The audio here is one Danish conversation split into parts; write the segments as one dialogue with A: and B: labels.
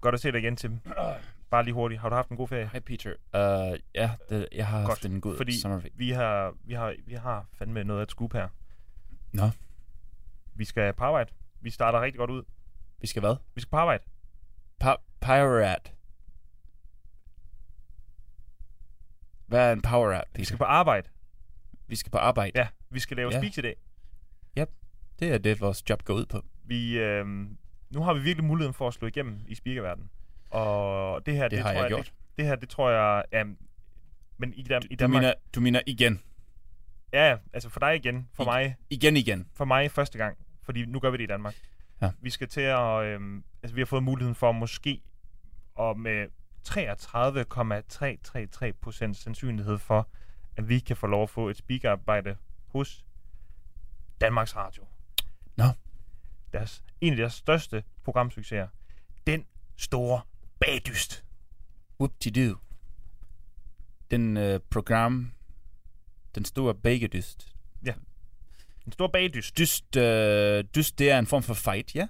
A: Godt at se dig igen, Tim. Bare lige hurtigt. Har du haft en god ferie?
B: Hej Peter. Uh, ja, det, jeg har
A: Godt,
B: haft en god
A: fordi-
B: sommerferie.
A: Vi har, vi har, vi har fandme noget at skube her.
B: Nå.
A: Vi skal på arbejde. Vi starter rigtig godt ud.
B: Vi skal hvad?
A: Vi skal på arbejde.
B: Pa- pirate. Hvad er en power
A: Vi
B: Peter?
A: skal på arbejde.
B: Vi skal på arbejde.
A: Ja, vi skal lave
B: Ja.
A: ja. spise i dag.
B: Det er det, vores job går ud på.
A: Vi, øh, nu har vi virkelig muligheden for at slå igennem i speakerverdenen. Og det her, det,
B: Det, det har
A: tror jeg,
B: jeg, gjort.
A: Det, det her, det tror jeg... Ja, men i, Dan- i
B: du,
A: Danmark...
B: mener, du mener igen.
A: Ja, ja, altså for dig igen. For
B: I-
A: mig,
B: Igen igen.
A: for mig første gang. Fordi nu gør vi det i Danmark.
B: Ja.
A: Vi skal til at... Øh, altså vi har fået muligheden for måske og med 33,333 procent sandsynlighed for, at vi kan få lov at få et speakerarbejde hos Danmarks Radio.
B: Nå.
A: Deres, en af deres største programsucceser. Den store bagdyst.
B: Whoop-de-doo. Den øh, program, den store bagedyst.
A: Den store bagdyst.
B: Dyst, øh, dyst, det er en form for fight, ja?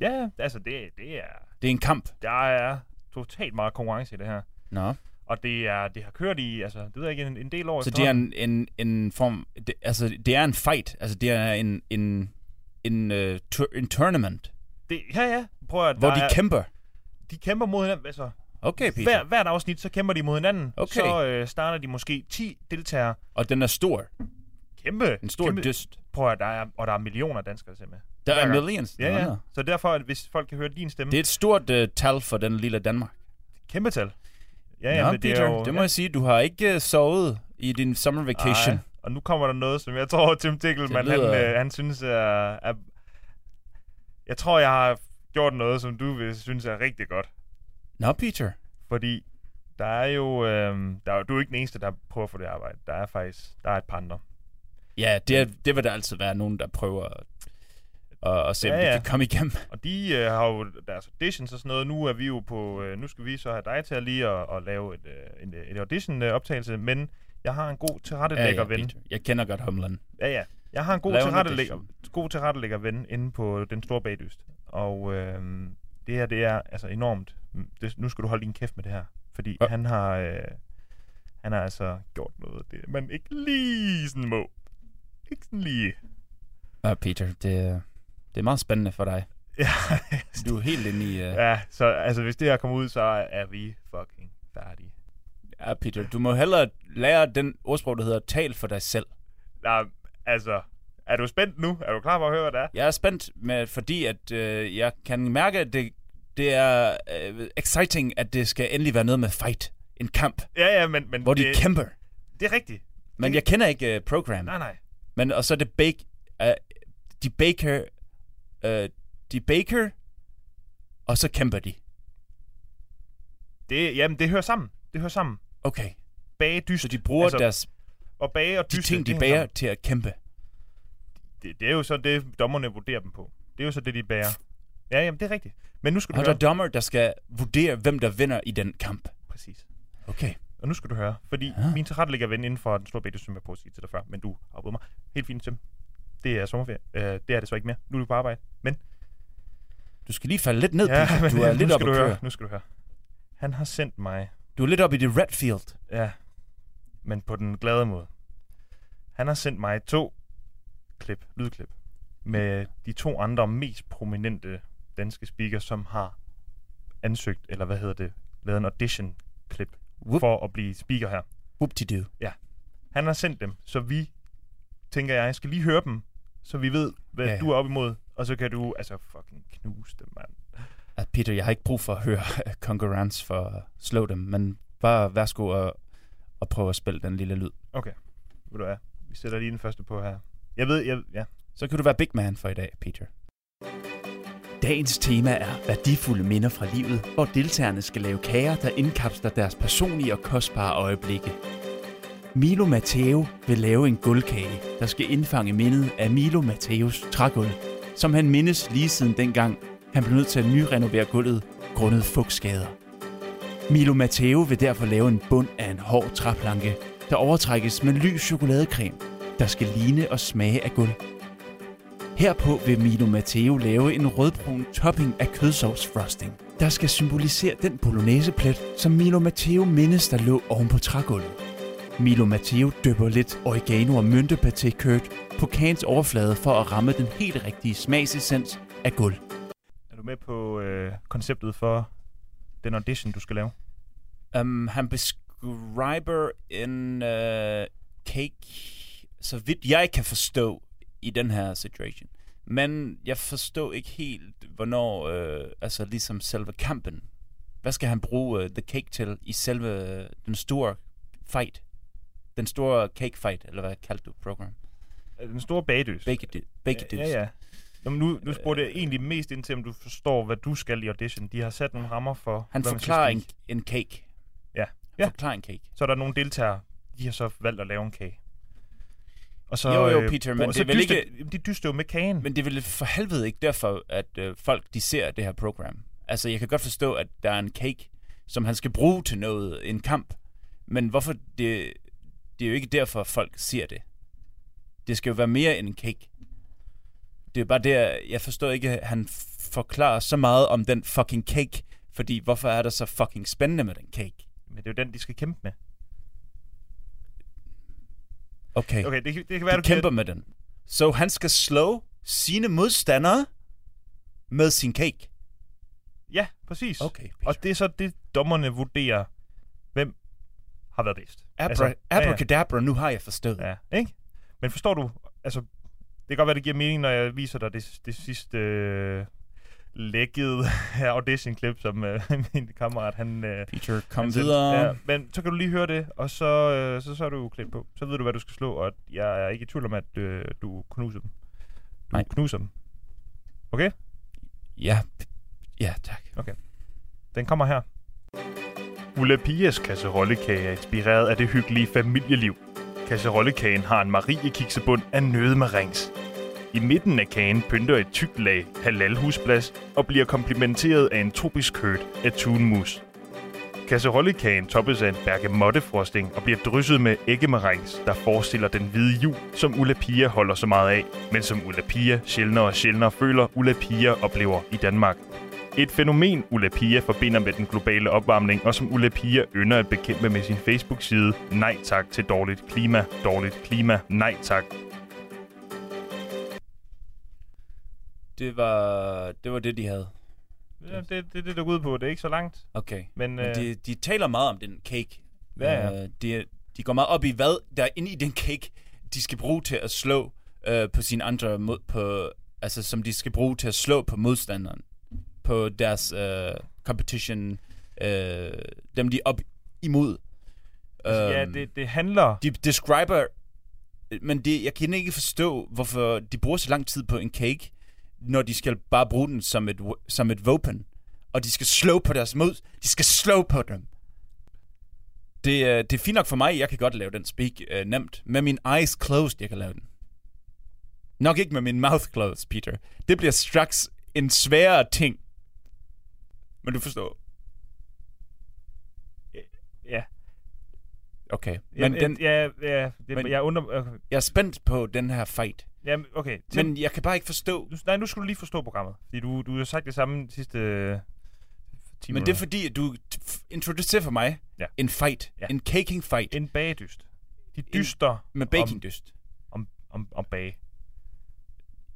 A: Ja, altså det, det er...
B: Det er en kamp.
A: Der er totalt meget konkurrence i det her.
B: Nå.
A: Og det, er, det har kørt i, altså, det ved jeg ikke, en, en del år
B: Så det er
A: efterhånden.
B: en, en, en form... Det, altså, det er en fight. Altså, det er en, en, en, uh, tur, en tournament,
A: det, Ja, ja. Prøv at,
B: hvor
A: der
B: de
A: er,
B: kæmper.
A: de kæmper mod hinanden. Altså,
B: Okay, Peter.
A: hver, hvert afsnit, så kæmper de mod hinanden.
B: Okay.
A: Så øh, starter de måske 10 deltagere.
B: Og den er stor.
A: Kæmpe.
B: En stor
A: kæmpe,
B: dyst.
A: Prøv at, der er, og der er millioner af danskere, der ser med.
B: Der
A: hver
B: er
A: gang.
B: millions.
A: Ja,
B: Nå,
A: ja.
B: nå.
A: Så derfor, at hvis folk kan høre din stemme,
B: Det
A: det...
B: er et stort uh, tal for den lille Danmark.
A: kæmpe tal. Ja, ja,
B: Nå,
A: men
B: Peter,
A: det er jo...
B: det må
A: ja.
B: jeg sige, du har ikke uh, sovet i din summer vacation.
A: Ej, Og nu kommer der noget, som jeg tror, Tim Dickelman, lyder... han,
B: lyder-
A: øh, han synes er, er... Jeg tror, jeg har gjort noget, som du vil synes er rigtig godt.
B: Nå, Peter.
A: Fordi der er jo... Øh, der er, du er ikke den eneste, der prøver at få det arbejde. Der er faktisk... Der er et par andre.
B: Ja, det, er, det vil der altid være nogen, der prøver at, at, at se, om
A: Ja,
B: de
A: ja.
B: kan komme igennem.
A: Og de øh, har jo deres auditions og sådan noget. Nu er vi jo på... Øh, nu skal vi så have dig til at lige at, at lave et, øh, en, øh, en audition-optagelse. Men jeg har en god tilrettelægger ven.
B: Peter. Jeg kender godt Homeland.
A: Ja, ja. Jeg har en god
B: Lav en
A: tilrettelægger, god tilrettelægger ven inde på den store bagdyst. Og øh, det her, det er altså enormt. Det, nu skal du holde din kæft med det her. Fordi
B: Hva?
A: han har... Øh, han har altså gjort noget af det, man ikke lige sådan må. Ikke sådan lige.
B: Nå, Peter, det, er- det er meget spændende for dig.
A: Ja,
B: Du er helt inde i... Uh...
A: Ja, så altså, hvis det her kommer ud, så er vi fucking færdige.
B: Ja, Peter, du må hellere lære den ordsprog, der hedder tal for dig selv.
A: Nej, altså, er du spændt nu? Er du klar på at høre, hvad det er?
B: Jeg er spændt, med, fordi at, øh, jeg kan mærke, at det, det er øh, exciting, at det skal endelig være noget med fight. En kamp,
A: Ja, ja, men, men
B: hvor de
A: det,
B: kæmper.
A: det er rigtigt.
B: Men jeg kender ikke øh, program.
A: Nej, nej.
B: Men og så er det bake, øh, de baker, øh, de baker, og så kæmper de.
A: Det, jamen, det hører sammen. Det hører sammen.
B: Okay,
A: Bage dyst.
B: så de bruger altså, deres,
A: og bage og
B: de
A: dyst.
B: ting, de bager, til at kæmpe.
A: Det, det, er jo så det, dommerne vurderer dem på. Det er jo så det, de bager. Ja, jamen, det er rigtigt. Men nu skal du
B: Og der
A: høre.
B: er dommer, der skal vurdere, hvem der vinder i den kamp.
A: Præcis.
B: Okay.
A: Og nu skal du høre, fordi ja.
B: Ja.
A: min tilrettelægger ven inden for den store bække, som jeg prøvede at sige til dig før, men du afbrød mig. Helt fint, Tim. Det er sommerferie. Øh, det er det så ikke mere. Nu er du på arbejde. Men
B: Du skal lige falde lidt ned,
A: Ja,
B: Peter.
A: men
B: Du er
A: nu
B: lidt
A: skal
B: oppe
A: du
B: at
A: høre.
B: køre.
A: Nu skal du høre. Han har sendt mig,
B: Du er lidt oppe i det red field.
A: ja, men på den glade måde. Han har sendt mig to klip, lydklip, med de to andre mest prominente danske speakers, som har ansøgt, eller hvad hedder det, lavet en audition-klip
B: Whoop.
A: for at blive speaker her.
B: Whoop-de-doo.
A: Han har sendt dem, så vi, tænker jeg, skal lige høre dem, så vi ved, hvad
B: Ja, ja.
A: du er op imod, og så kan du, altså, fucking knuse dem, mand.
B: At Peter, jeg har ikke brug for at høre konkurrence for at slå dem, men bare værsgo og, og prøve at spille den lille lyd.
A: Ved du hvad, vi sætter lige den første på her. Jeg ved, jeg, ja,
B: Så kan du være big man for i dag, Peter. Dagens tema er værdifulde minder fra livet, hvor deltagerne skal lave kager, der indkapsler deres personlige og kostbare øjeblikke. Milo Matteo vil lave en guldkage, der skal indfange mindet af Milo Matteos trægulv, som han mindes lige siden dengang, han blev nødt til at nyrenovere gulvet grundet fugtskader. Milo Matteo vil derfor lave en bund af en hård træplanke, der overtrækkes med lys chokoladecreme, der skal ligne og smage af guld. Herpå vil Mino Matteo lave en rødbrun topping af kødsovs frosting, der skal symbolisere den bolognese-plet, som Milo Matteo mindes, der lå oven på trægulvet. Milo Matteo dypper lidt oregano og myntepaté kørt på kagens overflade for at ramme den helt rigtige smagsessens af guld.
A: Er du med på øh, konceptet for den audition, du skal lave?
B: Um, han beskriver en uh, cake, så vidt jeg kan forstå i den her situation. Men jeg forstår ikke helt, hvornår, øh, altså ligesom selve kampen. Hvad skal han bruge øh, The Cake til i selve øh, den store fight? Den store cake fight, eller hvad kaldte du program?
A: Øh, Den store bagdys.
B: Bake, bake
A: Ja, ja. Nå, men nu, nu
B: Øh,
A: spurgte jeg egentlig mest ind til, om du forstår, hvad du skal i audition. De har sat nogle rammer for,
B: Han
A: hvad man skal
B: forklarer en,
A: spise.
B: en cake.
A: Ja.
B: Han
A: Ja.
B: forklarer en cake.
A: Så er der nogle deltagere, de har så valgt at lave en kage. Og så,
B: Jo, jo,
A: øh,
B: Peter,
A: bruger-
B: men
A: så
B: det er vel
A: dyster-
B: ikke-
A: Jamen, De dyster jo med kagen. Men...
B: Men det er vel for helvede ikke derfor, at øh, folk de ser det her program. Altså, jeg kan godt forstå, at der er en cake, som han skal bruge til noget, en kamp. Men hvorfor det... Det er jo ikke derfor, folk ser det. Det skal jo være mere end en cake. Det er bare der, jeg forstår ikke, at han f- forklarer så meget om den fucking cake. Fordi hvorfor er der så fucking spændende med den cake?
A: men det er jo den, de skal kæmpe med.
B: Okay, okay
A: Okay, det, kan- det kan være, du
B: de
A: bliver-
B: kæmper med den. Så han skal slå sine modstandere med sin cake.
A: Ja, præcis.
B: Okay,
A: Og det er så det, dommerne vurderer, hvem har været bedst.
B: Abra,
A: Altså,
B: altså,
A: ja, ja.
B: abracadabra, nu har jeg forstået. Ja.
A: Ja, ikke? Men forstår du, altså, det kan godt være, det giver mening, når jeg viser dig det, det sidste øh, lækkede audition-klip, som øh, min kammerat, han... Øh,
B: Peter, kom
A: han
B: altså,
A: sendte.
B: videre.
A: Ja, men så kan du lige høre det, og så, øh, så, så er du klædt på. Så ved du, hvad du skal slå, og jeg er ikke i tvivl om, at øh, du knuser dem. Du
B: Nej.
A: knuser dem.
B: Ja. ja, tak.
A: Den kommer her. Ulla Pias kasserollekage er inspireret af det hyggelige familieliv. Kasserollekagen har en mariekiksebund af nødmarings. I midten af kagen pynter et tykt lag halalhusplads og bliver komplementeret af en tropisk høt af tunmus. Kasserollekagen toppes af en bergamottefrosting og bliver drysset med æggemarings, der forestiller den hvide jul, som Ulla Pia holder så meget af, men som Ulla Pia sjældnere og sjældnere føler, Ulla Pia oplever i Danmark. Et fænomen, Ulla Pia forbinder med den globale opvarmning, og som Ulla Pia ynder at bekæmpe med sin Facebook-side Nej tak til dårligt klima, dårligt klima, nej tak.
B: Det var, det var det, de havde.
A: Ja, det er det, det, der går ud på. Det er ikke så langt,
B: Okay.
A: men... øh,
B: Men de, de taler meget om den cake.
A: Ja, ja.
B: Øh, de, de går meget op i, hvad der er inde i den cake, de skal bruge til at slå øh, på sine andre... Mod, på, altså, som de skal bruge til at slå på modstanderen. På deres øh, competition. Øh, dem, de er op imod.
A: Altså, ja
B: Øhm,
A: det, det handler...
B: De describer... Men det, jeg kan ikke forstå, hvorfor de bruger så lang tid på en cake, når de skal bare bruge den som et, som et våben. Og de skal slå på deres mod. De skal slå på dem. Det, er- det er fint nok for mig. Jeg kan godt lave den speak øh, nemt. Med min eyes closed, jeg kan lave den. Nok ikke med min mouth closed, Peter. Det bliver straks en sværere ting. Men du forstår.
A: Ja,
B: Okay.
A: men
B: Men
A: ja,
B: den,
A: den, ja, ja det,
B: men-
A: men, jeg undrer... Okay,
B: jeg er spændt på den her fight.
A: jamen, okay. Til, men,
B: Men jeg kan bare ikke forstå,
A: nu, nej, nu skal du lige forstå programmet, fordi du, du har sagt det samme de sidste... Øh, 10
B: Men det er fordi, at du t- f- introducerer for mig
A: Ja.
B: en fight.
A: Ja.
B: En caking fight en,
A: En bagedyst. De dyster
B: med bakingdyst.
A: om, om, om, om bage.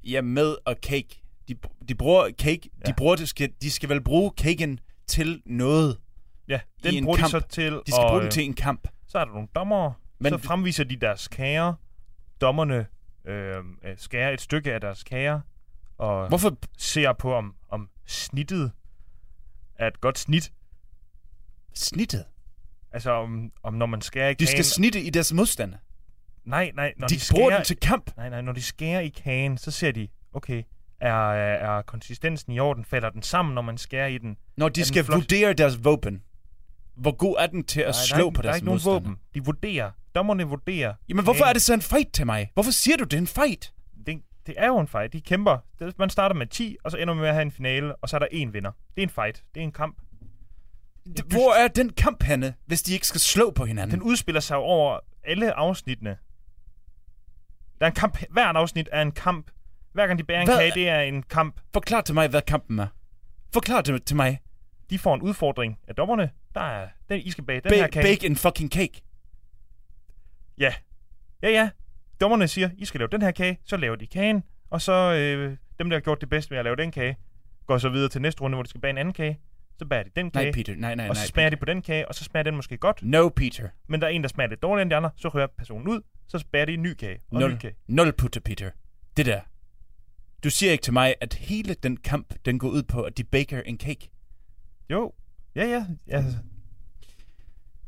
B: Ja, med og cake. De, br- de bruger cake. Ja.
A: Ja.
B: De, bruger, de, skal, de skal vel bruge caken til noget.
A: Ja,
B: I en
A: den bruger de
B: kamp.
A: så til...
B: De skal
A: at,
B: og, bruge den
A: øh,
B: til en kamp.
A: Så er der nogle dommere,
B: Men
A: Men så
B: det-
A: fremviser de deres kager. Dommerne øh, øh, skærer et stykke af deres kager og Hvor?
B: Hvorfor?
A: ser på, om, om snittet er et godt snit.
B: Snittet.
A: Altså, om, om når man skærer i
B: De
A: kagen...
B: skal snitte i deres modstander.
A: Nej, nej, når
B: De,
A: de,
B: de bruger
A: skærer...
B: den til kamp.
A: Nej, nej, når de skærer i kagen, så ser de, okay, er, er er konsistensen i orden? Falder den sammen, når man skærer i den?
B: Når de
A: den
B: skal
A: flot?
B: vurdere deres våben. Hvor god er den til at
A: der er
B: slå
A: ikke-
B: på
A: der er
B: deres
A: ikke nogen
B: modstander?
A: våben. De vurderer. Dommerne vurderer.
B: Jamen, hvorfor
A: kagen.
B: er det så en fight til mig? Hvorfor siger du, det er en fight?
A: det, det er jo en fight. De kæmper. Det, man starter med 10, og så ender man med at have en finale, og så er der én vinder. Det er en fight. Det er en kamp.
B: Mm. Det, hvor er den kamp henne, hvis de ikke skal slå på hinanden?
A: Den udspiller sig jo over alle afsnittene. Der er en kamp. Hvert afsnit er en kamp. Hver gang de bærer en
B: Hvad-
A: kage, det er en kamp.
B: Forklar til mig, hvad kampen er. Forklar til, til mig.
A: De får en udfordring af dommerne. Der er, den, I skal bage den
B: Ba-
A: her kage.
B: bake en fucking cake.
A: Ja. Ja, ja. Dommerne siger, I skal lave den her kage, så laver de kagen, og så øh, dem, der har gjort det bedst med at lave den kage, går så videre til næste runde, hvor de skal bage en anden kage, så bager de den
B: Nej,
A: kage,
B: Peter. Nej, nej,
A: og
B: Ah, nej.
A: så smager de på den kage, og så smager den måske godt,
B: Peter. No, Peter.
A: men der er en, der smager lidt dårligere end de andre, så rører personen ud, så bager de en ny kage, og en ny
B: Nul.
A: kage.
B: Nul putter, Peter. Det der. Du siger ikke til mig, at hele den kamp, den går ud på, at de baker en cake.
A: Jo, ja, ja, ja altså,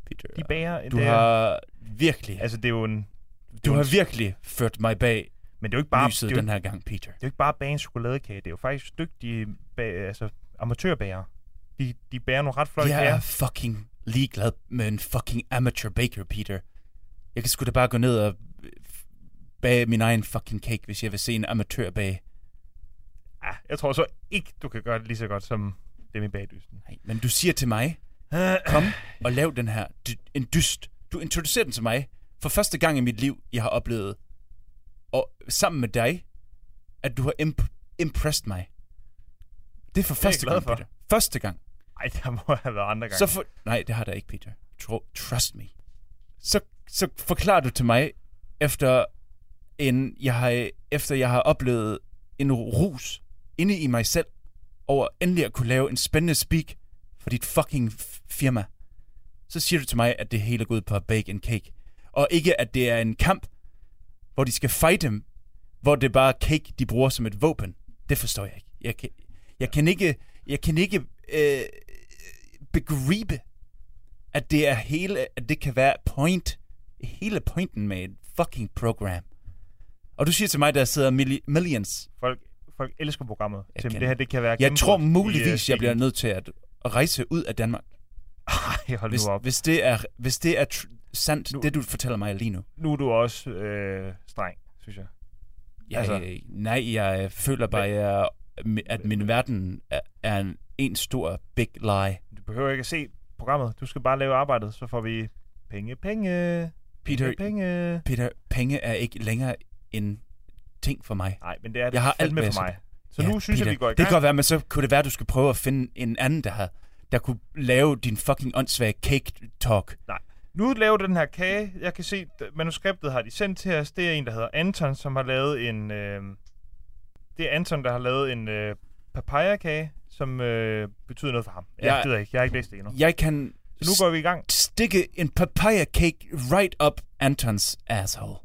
B: Peter.
A: de bager.
B: Du
A: det er-
B: har virkelig,
A: Altså, det er jo en... Det
B: du
A: er jo en-
B: har virkelig ført mig bag
A: men det er jo ikke bare,
B: lyset
A: det er jo,
B: den her gang, Peter.
A: det er jo ikke bare at bage en chokoladekage, det er jo faktisk dygtige bag, altså, amatørbager. De, de bærer nogle ret flotte
B: Jeg
A: kager.
B: er fucking ligeglad med en fucking amateur baker, Peter. Jeg kan sgu da bare gå ned og øh, f- bage min egen fucking cake, hvis jeg vil se en amatør bage.
A: Ah, jeg tror så ikke, du kan gøre det lige så godt som dem i bagdysten.
B: Nej, men du siger til mig, kom og lav den her, dy- en dyst. Du introducerer den til mig for første gang i mit liv, jeg har oplevet, og sammen med dig, at du har imp- impressed mig. Det er for
A: er jeg
B: første
A: glad
B: gang,
A: for.
B: Peter. Første gang.
A: Ej, der må have været andre gange.
B: Så for... Nej, det har der ikke, Peter. Tro... Trust me. Så, så forklarer du til mig, efter, en, jeg har, efter jeg har oplevet en rus inde i mig selv, over endelig at kunne lave en spændende speak for dit fucking f- firma. Så siger du til mig, at det hele går ud på at bake en cake. Og ikke, at det er en kamp, hvor de skal fight dem, hvor det er bare cake, de bruger som et våben. Det forstår jeg ikke. Jeg kan, jeg kan ikke, jeg kan ikke øh, begribe, at det er hele, at det kan være point, hele pointen med et fucking program. Og du siger til mig, der sidder milli- millions.
A: folk, folk elsker programmet.
B: Jeg
A: Tim,
B: kan-
A: det her, det kan være...
B: Jeg
A: gennembrud
B: tror
A: i, øh,
B: muligvis, jeg bliver
A: stilen.
B: nødt til at at rejse ud af Danmark,
A: Ej, hold
B: hvis,
A: nu op.
B: hvis det er, hvis det er tr- sandt,
A: Nu-
B: det du fortæller mig lige nu.
A: Nu er du også øh, streng, synes jeg.
B: Jeg,
A: Altså-
B: nej, jeg føler bare, jeg, er- at min verden er, er en, en stor big lie.
A: Du behøver ikke at se programmet. Du skal bare lave arbejdet, så får vi penge, penge,
B: Peter,
A: penge, penge.
B: Peter, penge er ikke længere en ting for mig.
A: Nej, men det er det
B: Jeg har alt
A: fandme
B: med,
A: for
B: så-
A: mig. Så nu synes jeg, vi går i
B: Det
A: gang.
B: kan godt være, men så kunne det være, at du skulle prøve at finde en anden, der, har, der kunne lave din fucking åndssvage cake talk.
A: Nu laver du den her kage. Jeg kan se, d- manuskriptet har de sendt til os. Det er en, der hedder Anton, som har lavet en... Øh, det er Anton, der har lavet en øh, papayakage, som øh, betyder noget for ham. Jeg,
B: Jeg-
A: jeg gider ikke. Jeg har ikke læst det endnu.
B: Jeg kan
A: Så nu går vi i gang.
B: stikke en papaya cake right up Antons asshole.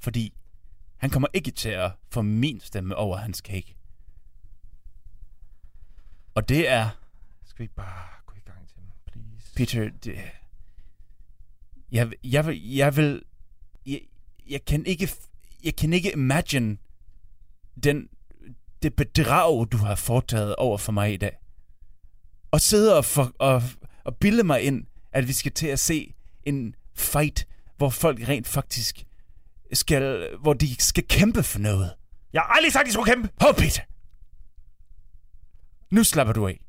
B: Fordi han kommer ikke til at få min stemme over hans cake. Og det er,
A: Skal vi ikke bare gå i gang til dem, please?
B: Peter, det, jeg, jeg, vil- jeg vil, jeg, jeg kan ikke, f- jeg kan ikke imagine den, det bedrag, du har foretaget over for mig i dag. Og sidde og, for, og, og bilde mig ind, at vi skal til at se en fight, hvor folk rent faktisk skal, hvor de skal kæmpe for noget.
A: Jeg har aldrig sagt, at I skulle kæmpe!
B: Hov, Peter! Nu slapper du af.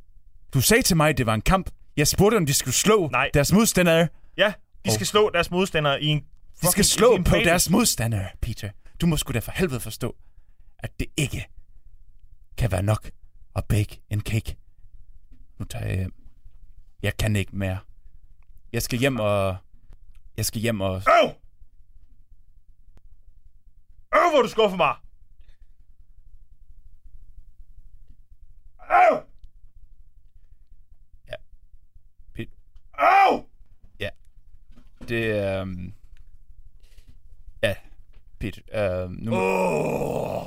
B: Du sagde til mig, at det var en kamp. Jeg spurgte, om de skulle slå
A: Nej.
B: deres modstandere.
A: Ja, de skal
B: Oh.
A: slå deres modstandere i en...
B: De skal
A: fucking- i
B: slå
A: en
B: på
A: bagdyst.
B: deres modstandere, Peter. Du må sgu da for helvede forstå, at det ikke kan være nok at bake en cake. Nu tager jeg hjem. Jeg kan ikke mere. Jeg skal hjem og... Jeg skal hjem og...
A: Øv! Øv, hvor du skuffer mig! Øv!
B: Ja. Pit.
A: Øv!
B: Det er, øhm, Ja, Peter. Øhm, nu må,
A: Oh.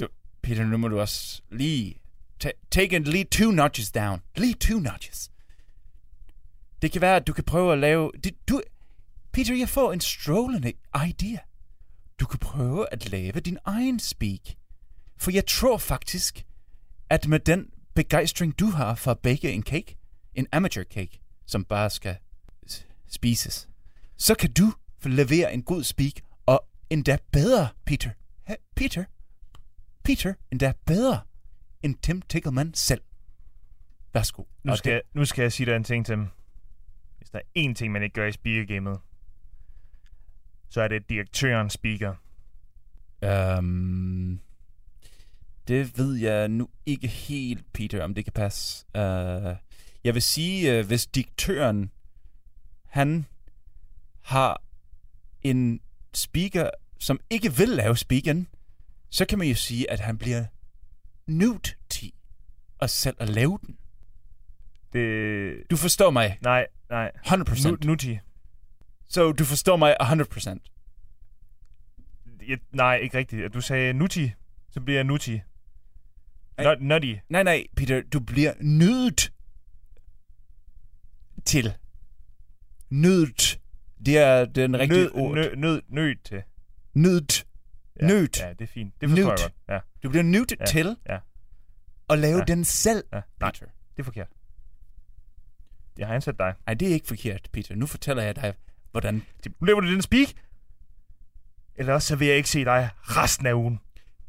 B: du, Peter, nu må du også lige... ta- Take it lige two notches down. Lige two notches. Det kan være, at du kan prøve at lave... Det, du, Peter, jeg får en strålende idé. Du kan prøve at lave din egen speak. For jeg tror faktisk, at med den begejstring, du har for at bage en cake, en amateur cake, som bare skal s- spises, så kan du levere en god speak, og endda bedre, Peter. Ha, Peter, Peter endda bedre end Tim Tickleman selv. Værsgo.
A: Nu,
B: Og
A: skal, jeg, nu skal jeg sige dig en ting til dem. Hvis der er én ting, man ikke gør i speakergamet, så er det direktøren speaker.
B: det- Øhm, Det ved jeg nu ikke helt, Peter, om det kan passe. Uh, jeg vil sige, uh, hvis diktøren, han har en speaker, som ikke vil lave speakeren, så kan man jo sige, at han bliver nødt til at selv at lave den.
A: Det...
B: Du forstår mig
A: Nej, nej.
B: 100%.
A: Nu, nuti.
B: Så du forstår mig 100%.
A: Jeg, nej, ikke rigtigt. Du sagde nuti, så bliver jeg nuti.
B: Ej.
A: Not, nutty.
B: Nej, nej, Peter, du bliver nødt til. Nødt. Det er den rigtige
A: Nød,
B: nød, ord.
A: nød, nød, nødt til.
B: Nødt.
A: Ja,
B: Nødt.
A: Ja, det er fint. Det forstår
B: Nødt.
A: jeg godt. Ja,
B: Du bliver nødt
A: Ja,
B: til
A: ja.
B: at lave
A: Ja.
B: den selv,
A: ja. Nej,
B: Peter.
A: det er forkert. Jeg har ansat dig.
B: Nej, det er ikke forkert, Peter. Nu fortæller jeg dig, hvordan...
A: Nu lever du den speak. Eller også så vil jeg ikke se dig resten af ugen.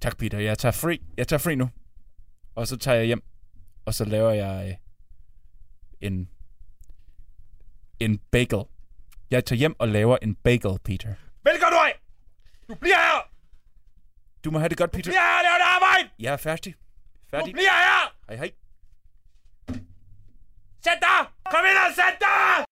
B: Tak, Peter. Jeg tager fri. Jeg tager fri nu. Og så tager jeg hjem. Og så laver jeg øh, en... En bagel. Jeg tager hjem og laver en bagel, Peter.
A: Velkommen du ej! Du bliver her!
B: Du må have det godt, Peter.
A: Bliver her, lav dit arbejde!
B: Jeg er færdig.
A: Du
B: Færdig.
A: bliver her!
B: Hej, hej.
A: Sæt dig! Kom ind og sæt dig!